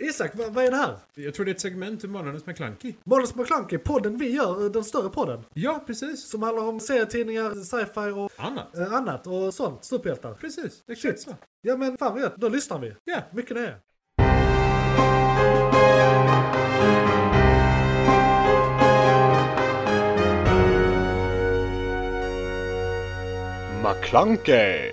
Isak, vad, vad är det här? Jag tror det är ett segment ur Månadens McKlunky. Måns McClunky, podden vi gör, eh, den större podden. Ja, precis. Som handlar om serietidningar, sci-fi och Annat. eh, annat och sånt. Superhjältar. Precis, exakt så. Ja men fan vad gött, då lyssnar vi. Ja. Mycket det är. McClunkey.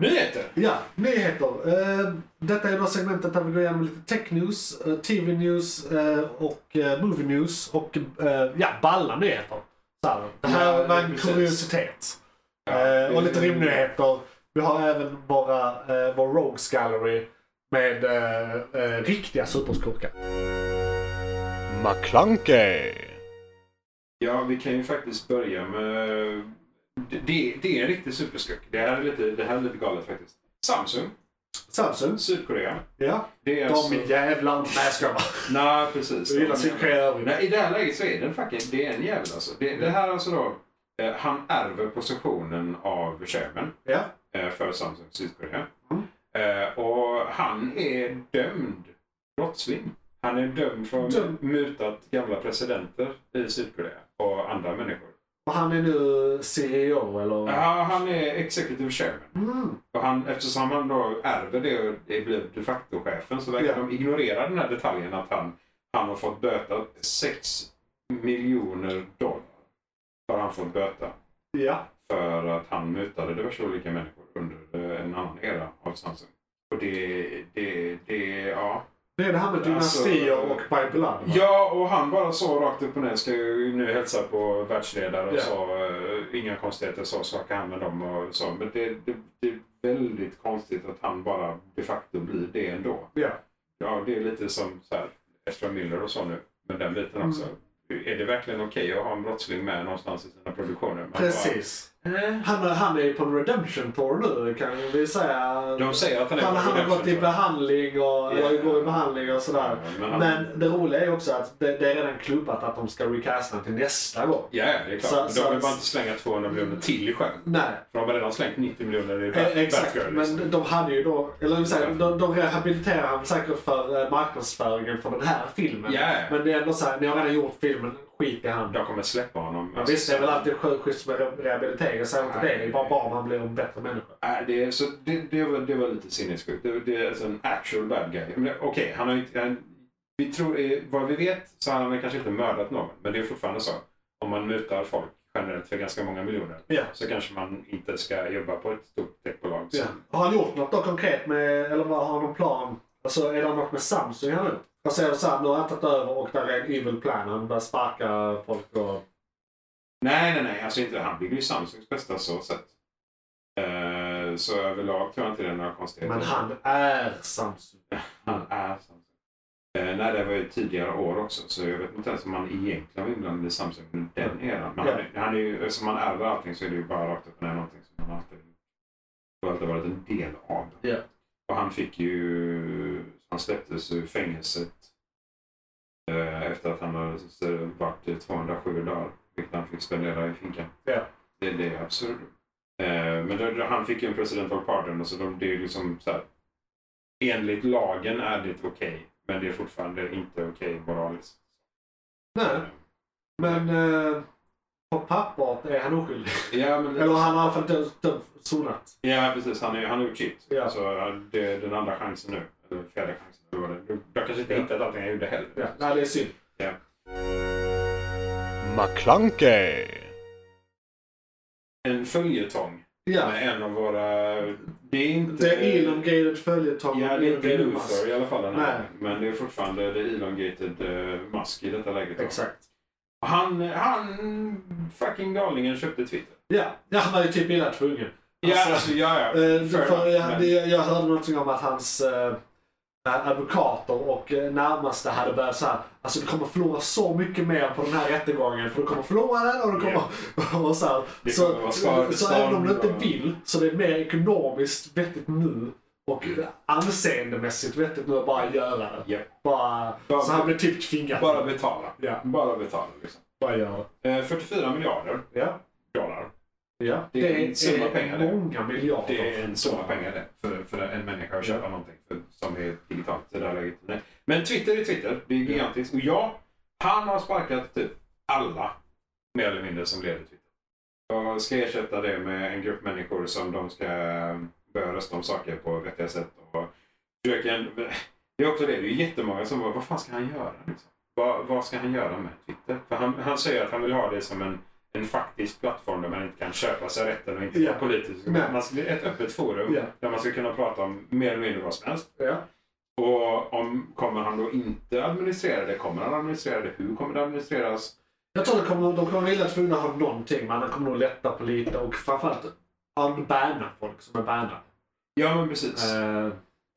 Nyheter! Eh, Ja, nyheter. Eh, detta är då segmentet där vi går igenom lite tech-news, eh, tv-news eh, och eh, movie-news och eh, ja, balla nyheter. Så här, det här Ja, var en precis. kuriositet. Ja, eh, och det- lite rymdnyheter. Vi har även våra, eh, vår Rogues Gallery med eh, eh, riktiga superskurkar. McClunkey. Ja, vi kan ju faktiskt börja med... Det- Det, det är en riktig superskurk. Det här är lite, det här är lite galet faktiskt. Samsung, Samsung. Sydkorea. Ja. Det är alltså- De jävlarna. Nej jag skojar bara. Nej, precis. Jag gillar Sydkorea i övrigt. Nej, I det här läget så är den faktiskt det är en jävel alltså. Det, det här alltså då, eh, han ärver positionen av Sherman Ja. eh, för Samsung Sydkorea. Mm. Eh, och han är dömd brottsling. Han är dömd för att ha Dömd. mutat gamla presidenter i Sydkorea och andra människor. Och han är nu CEO eller? Ja, han är executive chairman. Mm. Och han, eftersom han då ärver det och det blir de facto-chefen så verkar Ja. de ignorera den här detaljen att han, han har fått böta 6 miljoner dollar. Har han fått böta Ja. för att han mutade diverse olika människor under eh, en annan era av Samsung. Och det, det, det, ja. Det är det här med dynastier Alltså, och by blood. va? Ja, och han bara sa rakt upp och ner, ska ju nu hälsa på världsledare och Ja. sa eh, inga konstigheter, sa saker han med dem och så. Men det, det, det är väldigt konstigt att han bara de facto blir det ändå. Ja. Ja, det är lite som så här, Ezra Miller och så nu, med den biten också. Mm. Är det verkligen okej att ha en brottsling med någonstans i sina produktioner? Man bara, Precis. "Eh." Han, han är ju på en redemption tour nu kan vi säga. De säger att han är han, på han har redemption gått i tour. behandling och, Ja. eller går i behandling och sådär. Ja, men han- Men det roliga är också att det, det är redan klubbat att de ska recasta till nästa gång. Ja, ja, det är klart. Så- de så- vill bara inte slänga 200 miljoner till i sjön. Nej, För de har redan slängt 90 miljoner i Eh, Exakt, Batgirl, liksom. men de hade ju då, eller hur säger, de, de rehabiliterar han säkert för eh, marknadsföringen för den här filmen. Ja, ja. Men det är ändå såhär, ni har redan gjort filmen, skit i han. Jag kommer släppa honom. Men Visst, det är väl alltid sjukhus med re- rehabilitering, säg inte det. Det är bara barn man blir en bättre människa. Nej, det, är- så det, det, var, det var lite sinnessjukt. Det, det är alltså en actual bad guy. Men det- Okej, han har ju inte... Han, vi tror, eh, vad vi vet så har han väl kanske inte mördat någon. Men det är fortfarande så. Om man mutar folk generellt för ganska många miljoner Ja. så kanske man inte ska jobba på ett stort techbolag. som- Har han gjort något då konkret med, eller vad har han någon plan? Alltså är det något med Samsung han har gjort? Jag säger såhär, nu har han tagit över och där är en evil plan. Han börjar sparka folk och... Nej, nej, nej. Alltså inte, han blir ju Samsungs bästa så sett. Eh, så överlag tror jag inte det är några konstigheter. Men han är Samsung. Han är Samsung. Eh, nej, det var ju tidigare år också, så jag vet inte ens om han egentligen var inblandad i Samsung under den eran. Men han, är- han är ju, eftersom han ärver allting så är det ju bara rakt upp och ner någonting som han alltid, och alltid varit en del av. Ja. Och han fick ju, han släpptes ur fängelset eh, efter att han hade eh, varit i 207 dagar, vilket han fick spendera i finkan. Ja. Det, det är absurt. Eh, men då, då, han fick ju en presidential pardon, och så de, det är ju liksom så här, enligt lagen är det okej, men det är fortfarande inte okej moraliskt. Nej, men eh, på pappret är han oskyldig. Ja, men, Eller han har i alla fall dömt- dömt- sonat. ja precis. Han, är, han har gjort sitt. Ja. Så det är den andra chansen nu. Eller fjärde chansen. Eller vad det är. Jag kanske inte Ja. hittat allting jag gjorde heller. Ja, nej, det är synd. McClunkey. En följetong Ja. med en av våra... Det är inte... Det är elongated följetong. Ja, det är inte elongated Luther i alla fall. den här. Nej. Men det är fortfarande det elongated eh, mask i detta läget. då. Exakt. Han, han... Fucking galningen köpte Twitter. Ja. ja, han var ju typ illa tvungen. Ja, Alltså, alltså, ja, ja. Eh, Fair för enough, jag, men- det- jag hörde någonting om att hans eh, advokater och eh, närmaste hade börjat så här. Alltså du kommer förlora så mycket mer på den här rättegången. För du kommer förlora den och du kommer... Och så här. Det Så, kommer vara så, skadestånd så även om du inte och- vill så det är mer ekonomiskt vettigt nu. Och anseendemässigt vettigt nu att bara göra det. Ja. Bara, Bara- så han blev typ tvingad. Bara betala. Ja. Bara betala liksom. bara göra det. Eh, 44 miljarder Ja. dollar Ja. Det är en summa pengar, det. många miljarder. Det är en summa pengar det, för, för en människa att köpa någonting för, som är digitalt i det här läget. Nej. Men Twitter är Twitter, det är gigantiskt. Och ja, han har sparkat typ alla, mer eller mindre, som leder Twitter. Jag ska ersätta det med en grupp människor som de ska börja rösta om saker på vettiga sätt. Och försöka, det är också det, det är jättemånga som bara, vad fan ska han göra? Liksom? Vad, vad ska han göra med Twitter? För han, han säger att han vill ha det som en en faktisk plattform där man inte kan köpa sig rätten och inte Ja. vara politisk. Nej. Man ska, ett öppet forum Ja. där man ska kunna prata om mer eller mindre vad som helst. Ja. Och om, kommer han då inte administrera det? Kommer han administrera det? Hur kommer det administreras? Jag tror de kommer, de kommer vilja tvungna ha någonting, men de kommer nog lätta på lite och framförallt unbanna folk som är bannade. Ja, men precis. Eh,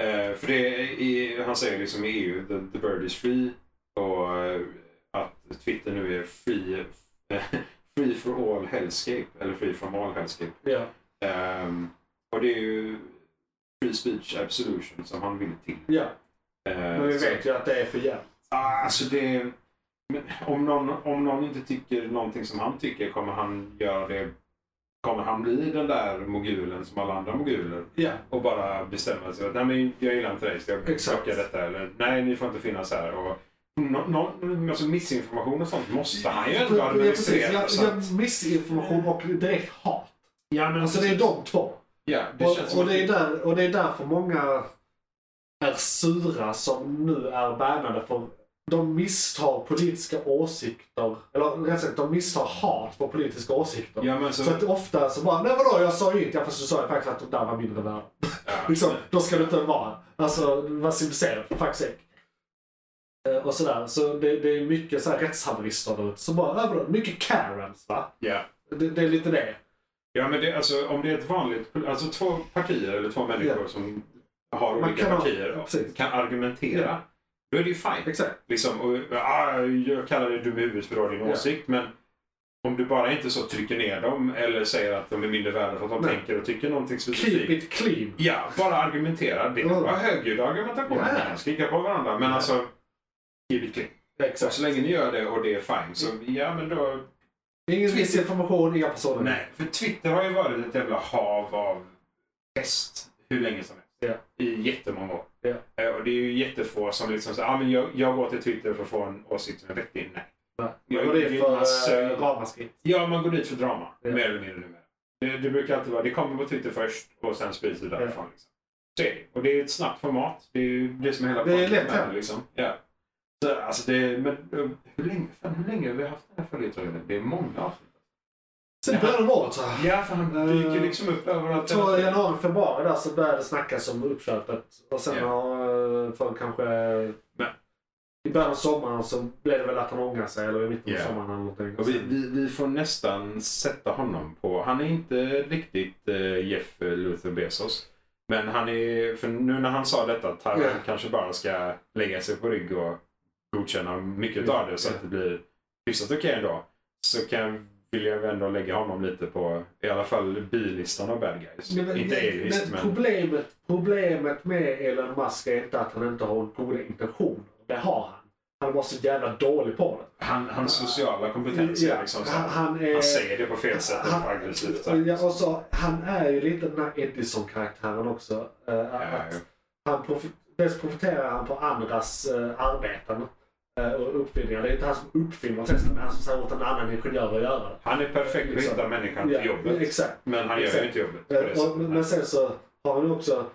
Eh, för det är i, han säger liksom i EU, the, the bird is free. Och eh, att Twitter nu är free, free for all hellscape. Eller free from all hellscape. ja. Ehm, och det är ju free speech absolution som han vill till. ja, Eh, men vi så- vet ju att det är för jävligt. Ah, Alltså det... men Om någon, om någon inte tycker någonting som han tycker, kommer han göra det... Kommer han bli den där mogulen som alla andra moguler Ja, och bara bestämma sig att nej men jag gillar inte dig så jag Exakt. blockar detta eller nej ni får inte finnas här. Och, no, no, alltså missinformation och sånt måste han ju ändå Ja, precis. administrera. Ja, så ja, att- missinformation och direkt hat. Ja, men Alltså det är de två. ja, det känns och, som och, att det är där, och det är därför många är sura som nu är bannade för de misstar politiska åsikter, eller rätt sagt de misstar hat för politiska åsikter. Ja, men alltså- så... Så att ofta så bara, nej vadå jag sa inget, ja fast du sa ju faktiskt att de där var mindre värda. ja. Liksom, då ska du inte vara. Alltså vad symboliserar det för fuck's sake. Eh, Och sådär, så det, det är mycket så här rättshaverister där ute som bara, nej vadå, mycket karens va? ja. Det, det är lite det. Ja, men det, alltså, om det är ett vanligt... Alltså två partier eller två människor Ja. som har Man olika kan ha- partier och precis. kan argumentera. Ja. Då är det ju fine. Exakt. Liksom, och, ah, jag kallar dig dum i huvudet för du har din Ja. åsikt, men om du bara inte så trycker ner dem eller säger att de är mindre värda för att de Nej. tänker och tycker någonting Keep specifikt. it clean. Ja, bara argumentera. Det Ja. kan vara högljudd argumentation. Ja. Man kan skrika på varandra, men Ja. alltså... Keep it clean. Så, Exakt. så länge ni gör det och det är fine, så ja, men då... Ingen missinformation, inga personer. Nej, för Twitter har ju varit ett jävla hav av pest hur länge som helst. I jättemånga år. Ja. Eh, Och det är ju jättefå som liksom säger ah, men jag, jag går till Twitter för att få en åsikt som är vettig. Nej. Nej. Jag Och det är vill för man sög- eh, ramaskri. Ja, man går dit för drama. Ja. Mer eller mindre numera. Det, det brukar alltid vara, det kommer på Twitter först och sen sprids det därifrån. Liksom. Så är det. Och det är ett snabbt format. Det är ju det som är hela Det är poängen lätt med hänt. det, liksom. Ja. Så, alltså det, men eh, hur länge, fan, hur länge har vi haft den här följetongen? Det är många avsnitt. Sen började de året så här. Ja, för han dyker Eh, liksom upp Jag överallt. tror i januari, februari där så började det snackas om uppköpet. Och sen Ja. har eh, folk kanske... Men- I början av sommaren så blev det väl att han ångrade sig. Eller i mitten av Ja. sommaren eller någonting. Och vi, vi, vi får nästan sätta honom på... Han är inte riktigt eh, Jeff Luther Bezos. Men han är... För nu när han sa detta, Taiwan Ja. kanske bara ska lägga sig på rygg och godkänna mycket Ja, av det så ja. att det blir hyfsat okej ändå. Så kan, vill jag ändå lägga honom lite på i alla fall bilistan av bad guys. Men- men- inte A-list men... men problemet, problemet med Elon Musk är inte att han inte har goda intentioner. Det har han. Han var så jävla dålig på det. Han, hans sociala kompetens är Ja, liksom så han, här, han är... Han säger det på fel sätt och Han- på aggressivt sätt. Ja, och så, han är ju lite den här Edison-karaktären också. Eh, Ja, att han profi- dels profiterar han på andras eh, arbeten eh, och uppfinningar. Det är inte han som uppfinner testen, men han som säger åt en annan ingenjör att göra det. Han är perfekt på att hitta människan till jobbet. Liksom. Exakt. Men han gör Exakt. ju inte jobbet på Eh, det och, sättet. men sen så har han ju också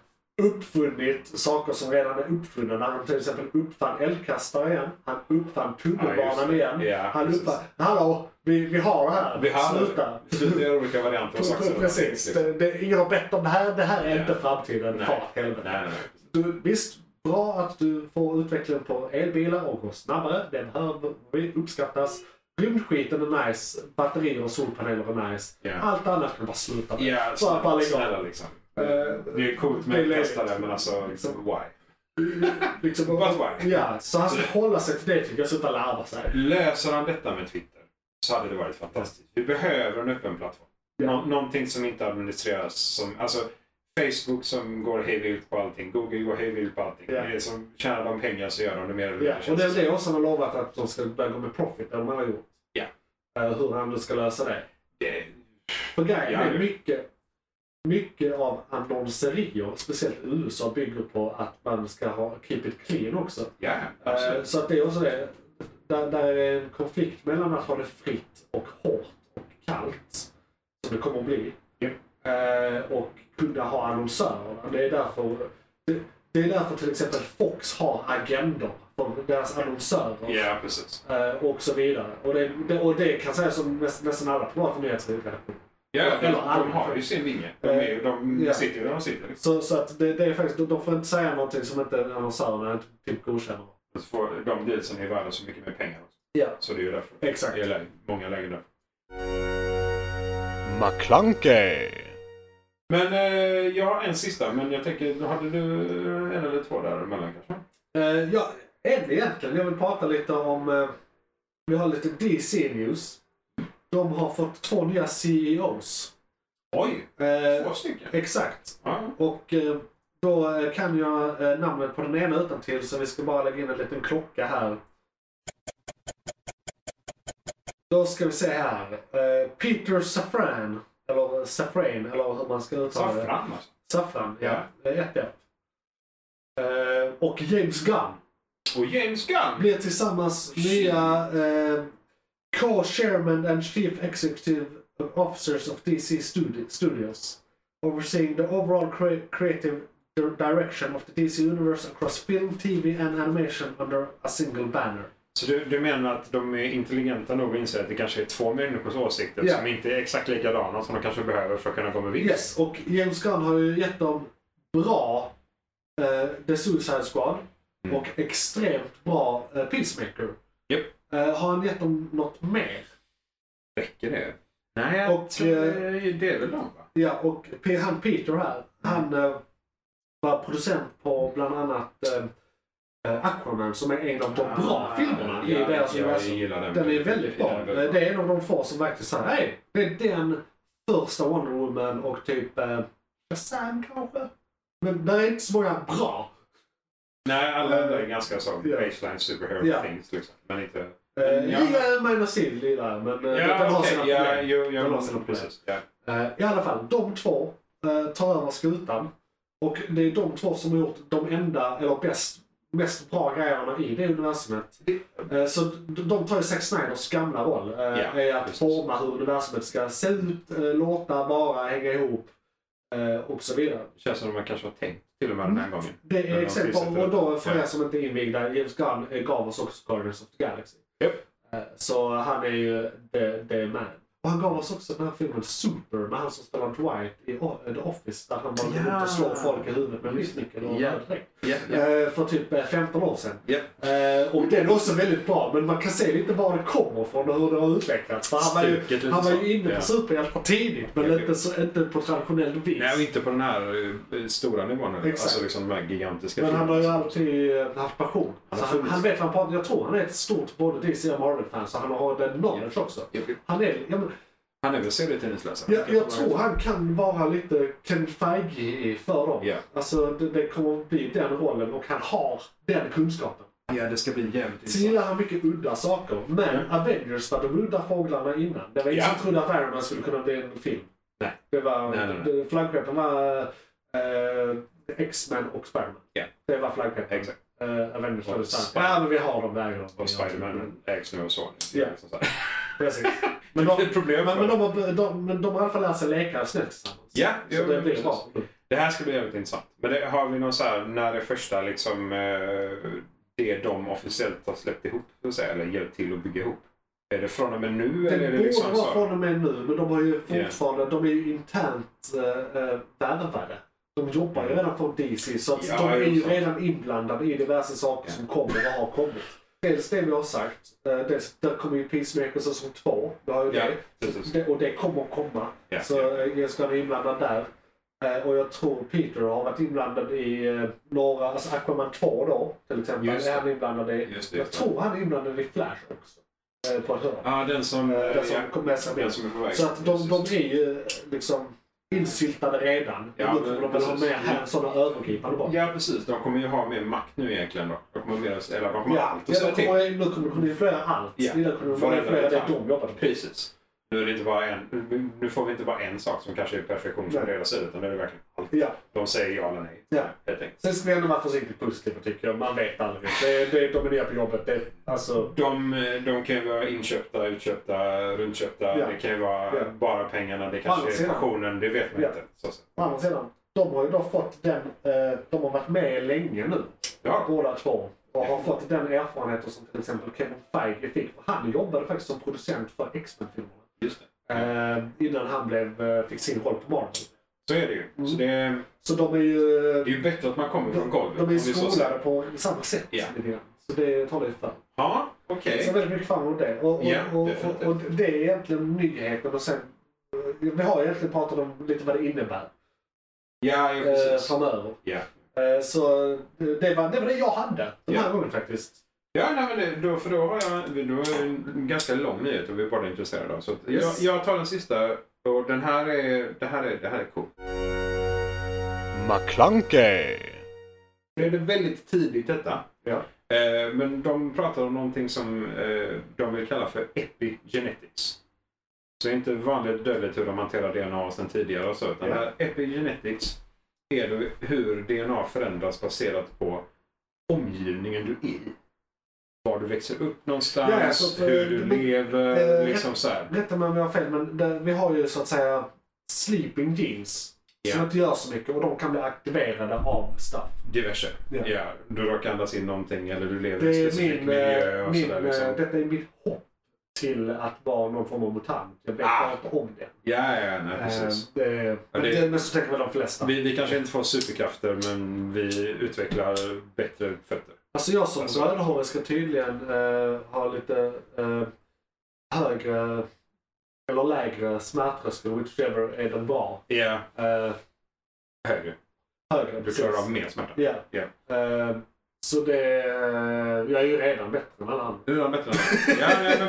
uppfunnit saker som redan är uppfunna. När han till exempel uppfann eldkastare igen. Han uppfann Ja, just tunnelbanan det. igen. Ja, han precis. uppfann... Hallå! Vi, vi har det här! Vi har- Sluta! Sluta göra olika varianter av saker. Precis. Det, det, ingen har bett om det här. Det här är inte framtiden. Nej. Far åt helvete. Nej, nej, nej. Du, visst, bra att du får utvecklingen på elbilar och går snabbare. Den hör vi uppskattas. Rymdskiten är nice. Batterier och solpaneler är nice. Ja. Allt annat kan bara sluta med. Ja, Bara på snälla, alla snälla liksom. Eh, Det är coolt det är med löjligt. kastare men alltså, Liksom. why? Liksom, But why? ja, så han ska hålla sig till det tycker jag, sluta larva sig. Löser han detta med Twitter så hade det varit fantastiskt. Vi behöver en öppen plattform. Nå- någonting som inte administreras som, alltså Facebook som går hejvilt på allting, Google går hejvilt på allting. Ja. Det är som, tjänar de pengar så gör de det mer eller Ja, mindre. och känns det är som. det också han har lovat att de ska börja gå med profit, det har man har gjort. Ja. Eh, Hur han nu ska lösa det. Det- För För grejen Ja, är det- mycket, mycket av annonserier, speciellt i USA, bygger på att man ska ha keep it clean också. Ja, Eh, absolut. Så att det är också det. Där, där är en konflikt mellan att ha det fritt och hårt och kallt. Som det kommer att bli. Ja. Eh, Och kunna ha annonsörerna. Det är därför det, det är därför till exempel Fox har agendor för deras annonsörer. Ja, precis. eh, Och så vidare. Och det, det, och det kan sägas om nästan, nästan alla privata nyhetsredaktioner. Ja, de, Eller de alla. har ju sin vinge. De, är, ju- de Ja. sitter ju där de sitter. Liksom. Så, så att det, det är faktiskt, de, de får inte säga någonting som inte annonsörerna inte typ godkänner. Så får de dealsen är värda så mycket mer pengar. Också. Ja, Så det är ju därför. exakt. Det är läge, många lägen där. McClunkey. Men eh, jag har en sista, men jag tänker, hade du en eller två däremellan kanske? Eh, ja, en egentligen. Jag vill prata lite om... eh, vi har lite DC News. De har fått två nya CEOs. Oj, Eh, två stycken? exakt. Ja, Och eh, då eh, kan jag eh, namnet på den ena utan till så vi ska bara lägga in en liten klocka här. Då ska vi se här. Eh, Peter Safran. Eller Safran, eller hur man ska uttala det. saffran alltså. Safran, ja. Det är Ett F. Eh, och James Gunn. Och James Gunn! blir tillsammans Oh, nya eh, co-chairman and chief executive officers of DC Studi- Studios, overseeing the overall cre- creative di- direction of the DC universe across film, TV and animation under a single banner. Så du, du menar att de är intelligenta nog att inse att det kanske är två människors åsikter Ja. som inte är exakt likadana som de kanske behöver för att kunna gå med vinst? Yes, och James Gunn har ju gett dem bra eh, The Suicide Squad Mm. och extremt bra eh, Peacemaker. Japp. Eh, har han gett dem något mer? Räcker det? Nej, jag Och, eh, tror det, det är väl de va? Ja, och P- han Peter här, han eh, var producent på bland annat eh, eh, Aquaman som är en av de Ah, bra filmerna i deras universum. gillar den. Den är väldigt Jag bra. gillar den väldigt Eh, Det är en av de få som verkligen säger hej, det är den första Wonder Woman och typ eh, Shazam kanske. Men det är inte så många bra. Nej, alla andra är ganska så Ja. baseline superhero Ja. things liksom. Men inte... Eh, Ja. Gillar Man of Steel, gillar jag, men eh, den den har okej, sina ja, problem. jo, jo, Den har sina precis. Ja. Eh, I alla fall, de två eh, tar över skutan. Och det är de två som har gjort de enda, eller bäst, mest bra grejerna i det universumet. Eh, så de, de tar ju Zack Snyders gamla roll. Eh, Ja, är att precis. forma hur universumet ska se ut, eh, låta, vara, hänga ihop eh, och så vidare. Det känns som att man kanske har tänkt till och med den här gången. Mm. Det Men är de exempel, tillsätter och då för det. er som inte är invigda, James Gunn eh, gav oss också Guardians of the Galaxy. Japp. Eh, Så han är ju the, the man. Och han gav oss också den här filmen Super med han som spelar Dwight i O- eh, The Office där han bara går runt och slår Ja. folk i huvudet med en visnyckel och Ja. en röd Ja, ja. Eh, För typ eh, 15 år sedan. Ja. Eh, Och den är också väldigt bra men man kan se lite var det kommer ifrån och hur det har utvecklats. För han var Stuket ju, lite han var så. ju inne Ja. på superhjältar tidigt men Ja, ja. inte, så, inte på traditionell vis. Nej, och inte på den här eh, stora nivån. eller? Exakt. Alltså liksom de här gigantiska Men han har ju filmerna. alltid eh, haft passion. Han Så har han, funnits. han vet vad han pratar Jag tror han är ett stort både DC och Marvel-fan, så han har den knowledge också. Japp, japp. Han är, jag, men, Han är väl serietidningsläsare? jag, jag tror han kan vara lite Ken Feige för dem. Ja. Alltså, det, det kommer att bli den rollen och han har den kunskapen. Ja, det ska bli jävligt Sen gillar han mycket udda saker, men Avengers var de udda fåglarna innan. Det var ingen Ja. som trodde att Iron Man skulle kunna bli en film. Nej. Det var, Nej, nej, nej. det- flaggskeppen var eh, X-Men och Spiderman. Ja. Det var flaggskeppen. Exakt. Uh, Avengers Och var det starka. Spider- Ja, men vi har dem där. Och Spiderman ägs nu av Sony. Ja. Liksom så här. Precis. Men de, Det är ett problem men, för men dem. de, har, de, men de har i alla fall lärt sig leka snällt tillsammans. Ja, Så jo, det blir precis. bra. Det här ska bli jävligt intressant. Men det, har vi någon så här, när det första liksom, eh, det de officiellt har släppt ihop, så att säga, eller hjälpt till att bygga ihop? Är det från och med nu? Det eller är det borde liksom vara så? från och med nu, men de har ju fortfarande, de är ju internt eh, eh, värvade. De jobbar ju redan för DC, så att Mm. Ja, de är jo, ju sant. redan inblandade i diverse saker som kommer och har kommit. Dels det vi har sagt, eh, dels, där kommer ju Peacemaker säsong två. Vi har ju Ja, det. precis. det. Och det kommer komma. Ja, så ja. eh, Jens Gunn är inblandad där. Eh, Och jag tror Peter har varit inblandad i eh, några, alltså Aquaman 2 då till exempel. Just är det. han inblandad i. Just det, Jag just det. tror han är inblandad i Flash också. eh, På ett hörn. Ja, den som, Eh, den som ja, kom med sig med. den som är på väg. Så att de, de är ju liksom insyltade redan. Ja, Ja, nu kommer de väl ha precis. med här sådana övergripande bara. Ja, precis. De kommer ju ha mer makt nu egentligen. Då. De kommer, mer, eller de kommer Ja, allt att ja, säga de till. kommer, nu kommer de kunna influera allt. Ja. Innan kommer de kunna Varenda influera det detalj. de jobbade med. Precis. Nu, är det inte bara en, nu- nu får vi inte bara en sak som kanske är perfektion från Nej. deras sida, utan nu är det verkligen allt. Ja. De säger ja eller nej. Ja. Helt enkelt. Sen ska vi ändå vara försiktigt positiva tycker jag. Man vet aldrig. Det, det, de är nya på jobbet. Det, alltså, De, de kan ju vara inköpta, utköpta, runtköpta. Ja. Det kan ju vara Ja. bara pengarna. Det andra kanske är sidan. passionen. Det vet man Ja. inte. Så, så. å andra sidan, de har ju då fått den... Eh, de har varit med länge nu, Ja. båda två. Och har fått den erfarenheten som till exempel Kevin Feige fick. För han jobbade faktiskt som producent för X-Men-filmerna. Just det. Eh, innan han blev, eh, fick sin roll på Marvel. Så är det ju. Så Mm. det, är- Så de är ju... det är ju bättre att man kommer från golvet. de, de är om vi så säger. skolade på samma sätt. Ja. lite grann. Så det talar ju för. Ja, okej. Så väldigt mycket fram emot det. Och, och, Ja, och, och, definitivt. och det är egentligen nyheten. Och sen, eh, vi har egentligen pratat om lite vad det innebär Ja, ja, eh, precis. framöver. Ja. Eh, så eh, det var, det var det jag hade den här Ja. gången faktiskt. Ja, nej, men det, då, för då har jag då är det en ganska lång nyhet och vi är båda intresserade av. Så att Yes. jag, jag tar den sista och den här är, det här är, det här är cool. McClunkey, Det är väldigt tidigt detta. Ja. Eh, men de pratar om någonting som eh, de vill kalla för epigenetics. Så det är inte vanligt dödligt hur de hanterar DNA sedan tidigare och så. Utan Ja. det här epigenetics är då hur DNA förändras baserat på omgivningen du är i. Var du växer upp någonstans, Ja, så att, eh, hur du det- lever, eh, liksom så här. Rätta mig om jag har fel, men det, vi har ju så att säga sleeping jeans. Som Ja. inte gör så mycket och de kan bli aktiverade av stuff. Diverse. Ja. Ja. Du råkar andas in någonting eller du lever i en Det är specifik min, miljö eh, och min, sådär. Liksom. eh, detta är mitt hopp till att vara någon form av mutant. Jag vet Ah. inte om det. Ja, ja, nej, precis. Eh, det, men, det- det, men så tänker väl de flesta. Vi, vi kanske inte får superkrafter, men vi utvecklar bättre fötter. Alltså jag som Alltså- rödhårig ska tydligen eh, ha lite eh, högre eller lägre smärttröskel, whichever är den bra. Ja, Eh, E högre. högre. Du klarar av mer smärta. Ja. Ja. Eh, så det... eh, jag är ju redan bättre än alla andra. Du är bättre än alla. ja, nej, men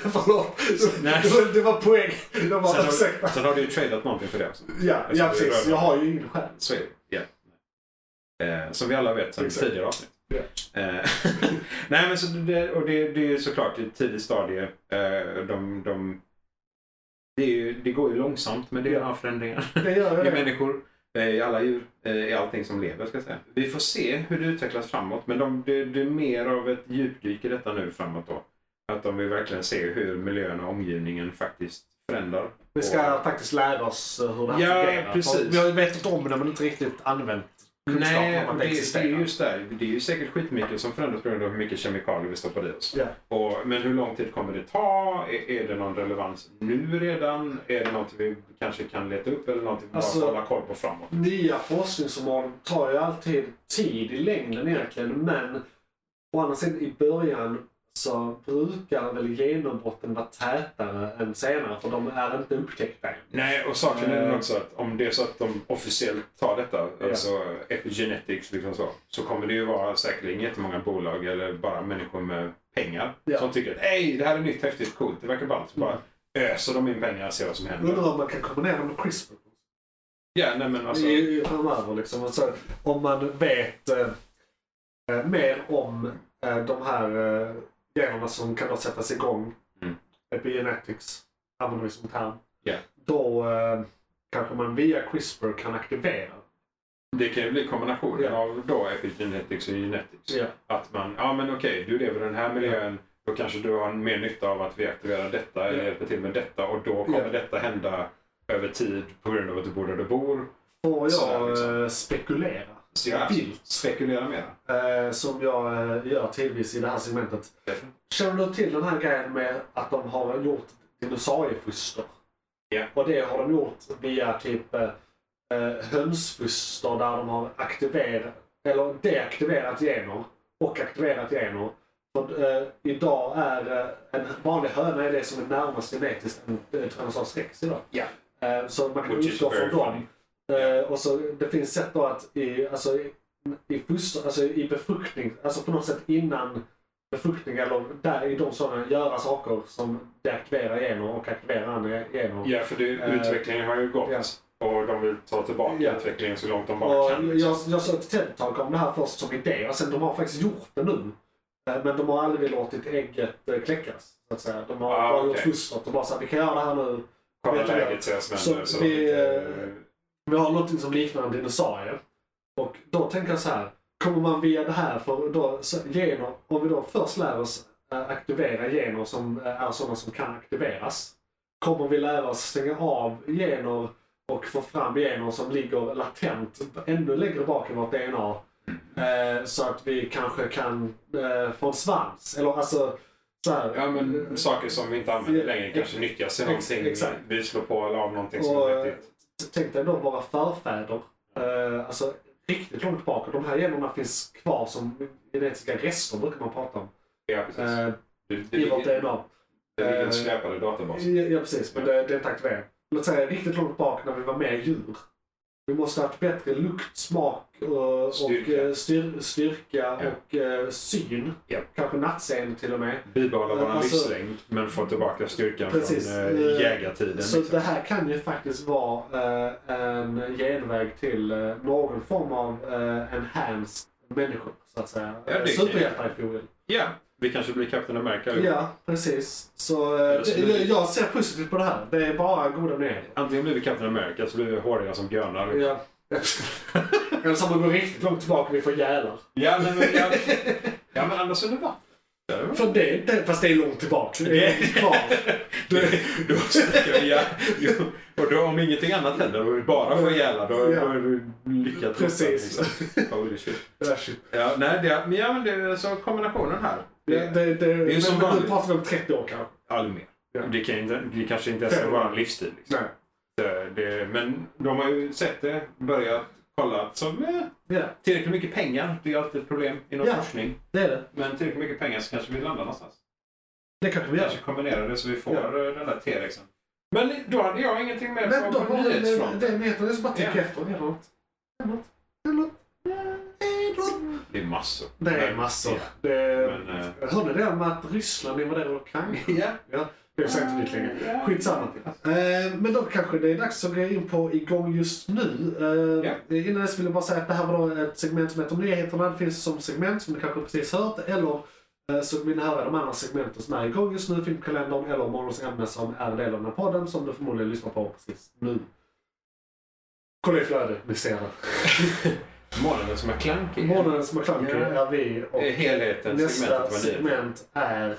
Förlåt. Nej. Det var- Det var poäng. Det Sen var, ursäkta. har, sen har du ju tradat någonting för det också. Ja, Alltså, ja det är precis. röda. Jag har ju ingen själ. Så är det. Ja. Eh, som vi alla vet sen Exakt. tidigare avsnitt. Eh, nej, men så det, och det, det är ju såklart i ett tidigt stadie. Eh, de, de, det, är ju, det går ju långsamt med DNA-förändringar. Det gör jag I det. människor, eh, i alla djur, eh, i allting som lever ska jag säga. Vi får se hur det utvecklas framåt men de, det, det är mer av ett djupdyk i detta nu framåt då. Att de vill verkligen se hur miljön och omgivningen faktiskt förändrar. Vi ska faktiskt lära oss eh, hur det här Ja, fungerar. precis. Vi har ju vetat om det men inte riktigt använt kunskapen Nej, om att och det det, det existerar. är just det. Det är ju säkert skitmycket som förändras på grund av hur mycket kemikalier vi stoppar i oss. Ja. Och, men hur lång tid kommer det ta? Är, är det någon relevans nu redan? Är det något vi kanske kan leta upp eller något vi bara Alltså- får hålla koll på framåt? Nya forskningsområden tar ju alltid tid i längden egentligen men å andra sidan i början så brukar väl genombrotten vara tätare än senare för de är inte upptäckta än. Nej, och saken är Eh. den också att om det är så att de officiellt tar detta, Ja. alltså epigenetics, liksom så, så kommer det ju vara säkerligen jättemånga bolag eller bara människor med pengar Ja. som tycker att "Ey, det här är nytt, häftigt, coolt, det verkar ballt. Så bara Mm. öser de in pengar och ser vad som händer. Undrar om man kan kombinera dem med CRISPR. Ja, nej men alltså. I- i- Framöver liksom. Och så, om man vet eh, eh, mer om eh, de här eh, generna som kan då sättas igång. Mm. Epigenetics använder vi som term. Ja. Då eh, kanske man via CRISPR kan aktivera. Det kan ju bli kombinationen Ja. av då epigenetics och genetics. Ja. Att man, ja men okej, du lever i den här miljön, då kanske du har mer nytta av att vi aktiverar detta eller Ja. hjälper till med detta och då kommer Ja. detta hända över tid på grund av att du bor där du bor. Får Sådär, jag liksom. eh, spekulera Så jag vilt spekulera mer. eh, som jag eh, gör tidvis i det här segmentet. Känner du till den här grejen med att de har gjort dinosauriefoster? Ja. Och det har de gjort via typ eh, eh, hönsfoster där de har aktiverat, eller deaktiverat gener och aktiverat gener. För, eh, idag är eh, en vanlig höna är det som är närmast genetiskt en eh, Tyrannosaurus rex idag. Ja. Eh, så man kan Which is utgå very från dem. funny. Eh, och så, det finns sätt då att i, alltså, i, i, foster, alltså, i befruktning, alltså på något sätt innan befruktning eller där i de sådana göra saker som deaktiverar gener och aktiverar andra gener. Ja, för det, Eh, utvecklingen har ju gått ja. och de vill ta tillbaka Ja. utvecklingen så långt de bara Och kan. liksom. jag, jag såg ett TED-talk om det här först som idé och sen de har faktiskt gjort det nu. Eh, Men de har aldrig låtit ägget eh, kläckas. Så att säga. De har Ah, bara okej. gjort fostret och bara sagt vi kan göra det här nu. Kolla Vet du läget, se vad som händer. Så Så vi, vi, eh, Vi har någonting som liknar en dinosaurie. Och då tänker jag så här. Kommer man via det här för då, så, gener, om vi då först lär oss eh, aktivera gener som eh, är sådana som kan aktiveras. Kommer vi lära oss stänga av gener och få fram gener som ligger latent ännu längre bak i vårt DNA. Eh, så att vi kanske kan eh, få en svans. Eller alltså så här, ja, men, saker som vi inte använder längre kanske nyttjas i någonting. Exakt. Vi slår på eller av någonting som Och, eh, är nyttigt. tänk dig då våra förfäder. Eh, alltså riktigt långt tillbaka. De här generna finns kvar som genetiska rester brukar man prata om. Ja, precis. Eh, det, det, I vårt ligger- DNA. det ligger eh, en släpande databas. Ja, ja precis, men det, det är inte aktiverat. Låt säga riktigt långt bak när vi var mer djur. Vi måste ha haft bättre lukt, smak och, och Styrka. eh, styr, styrka Ja. och eh, syn. Ja. Kanske nattseende till och med. Bibehålla vår alltså- livslängd men få tillbaka styrkan Precis. från Eh, eh, jägartiden. Så liksom. det här kan ju faktiskt vara eh, en genväg till eh, någon form av eh, enhanced människor, så att säga. Ja, det är- Superhjältar if you will. Ja, vi kanske blir Captain America. allihop. Ja, precis. Så eh, Eller så blir det, vi- jag ser positivt på det här. Det är bara goda nyheter. Antingen blir vi Captain America så blir vi håriga som björnar. Ja. Eller så om man går riktigt långt tillbaka vi får jälar. Ja, nej, men, ja, ja, men annars är det vatten. För det, det, fast det är långt tillbaka. Det är kvar. Då snackar vi, ja, jo, och då om ingenting annat händer och vi bara får ihjäl då, Ja. då är vi lyckat. Precis. liksom. Holy shit. Det är shit. Ja, nej, det, men ja, men det, så kombinationen här. Det, det, det, ju som men, men nu vanligt. pratar vi om 30 år kanske. All mer. Ja. Det, kan inte, det kanske inte ens är vår livstid. Liksom. Nej. Det, det, men de har ju sett det, börjat, kollat. Så, eh, Ja, tillräckligt mycket pengar, det är alltid ett problem inom Ja. forskning. det är det. Men tillräckligt mycket pengar så kanske vi landar någonstans. Det kanske vi Vi gör. kanske kombinerar det så vi får Ja. eh, den där T-rexen. Men då hade jag ingenting mer Men på- då på var det, nyhetsfronten. det heter det som bara tänker Ja. efter. Det är något. Det är något. Det är något. Det är något. Det är massor. Det är Men- massor. Ja. Det Men, eh, är... Hörde ni det om att Ryssland invaderar Ukraina? Det är säkert inte längre. Ja. Skitsamma. Eh, men då kanske det är dags att gå in på igång just nu. Eh, Innan dess vill jag bara säga att det här var då ett segment som heter Nyheterna. Det finns som segment som ni kanske precis hört. Eller eh, så vill ni höra de andra segmenten som är igång just nu. Filmkalendern eller morgons ämne som är en del av den här podden som du förmodligen lyssnar på precis nu. Kolla i flödet, ni ser det. Månaden som är klankig. Månadens McClunky är vi Det är och helheten, nästa segmentet var nyheter. segment är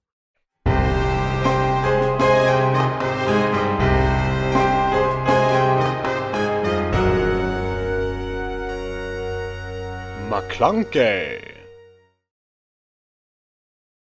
McClunkey.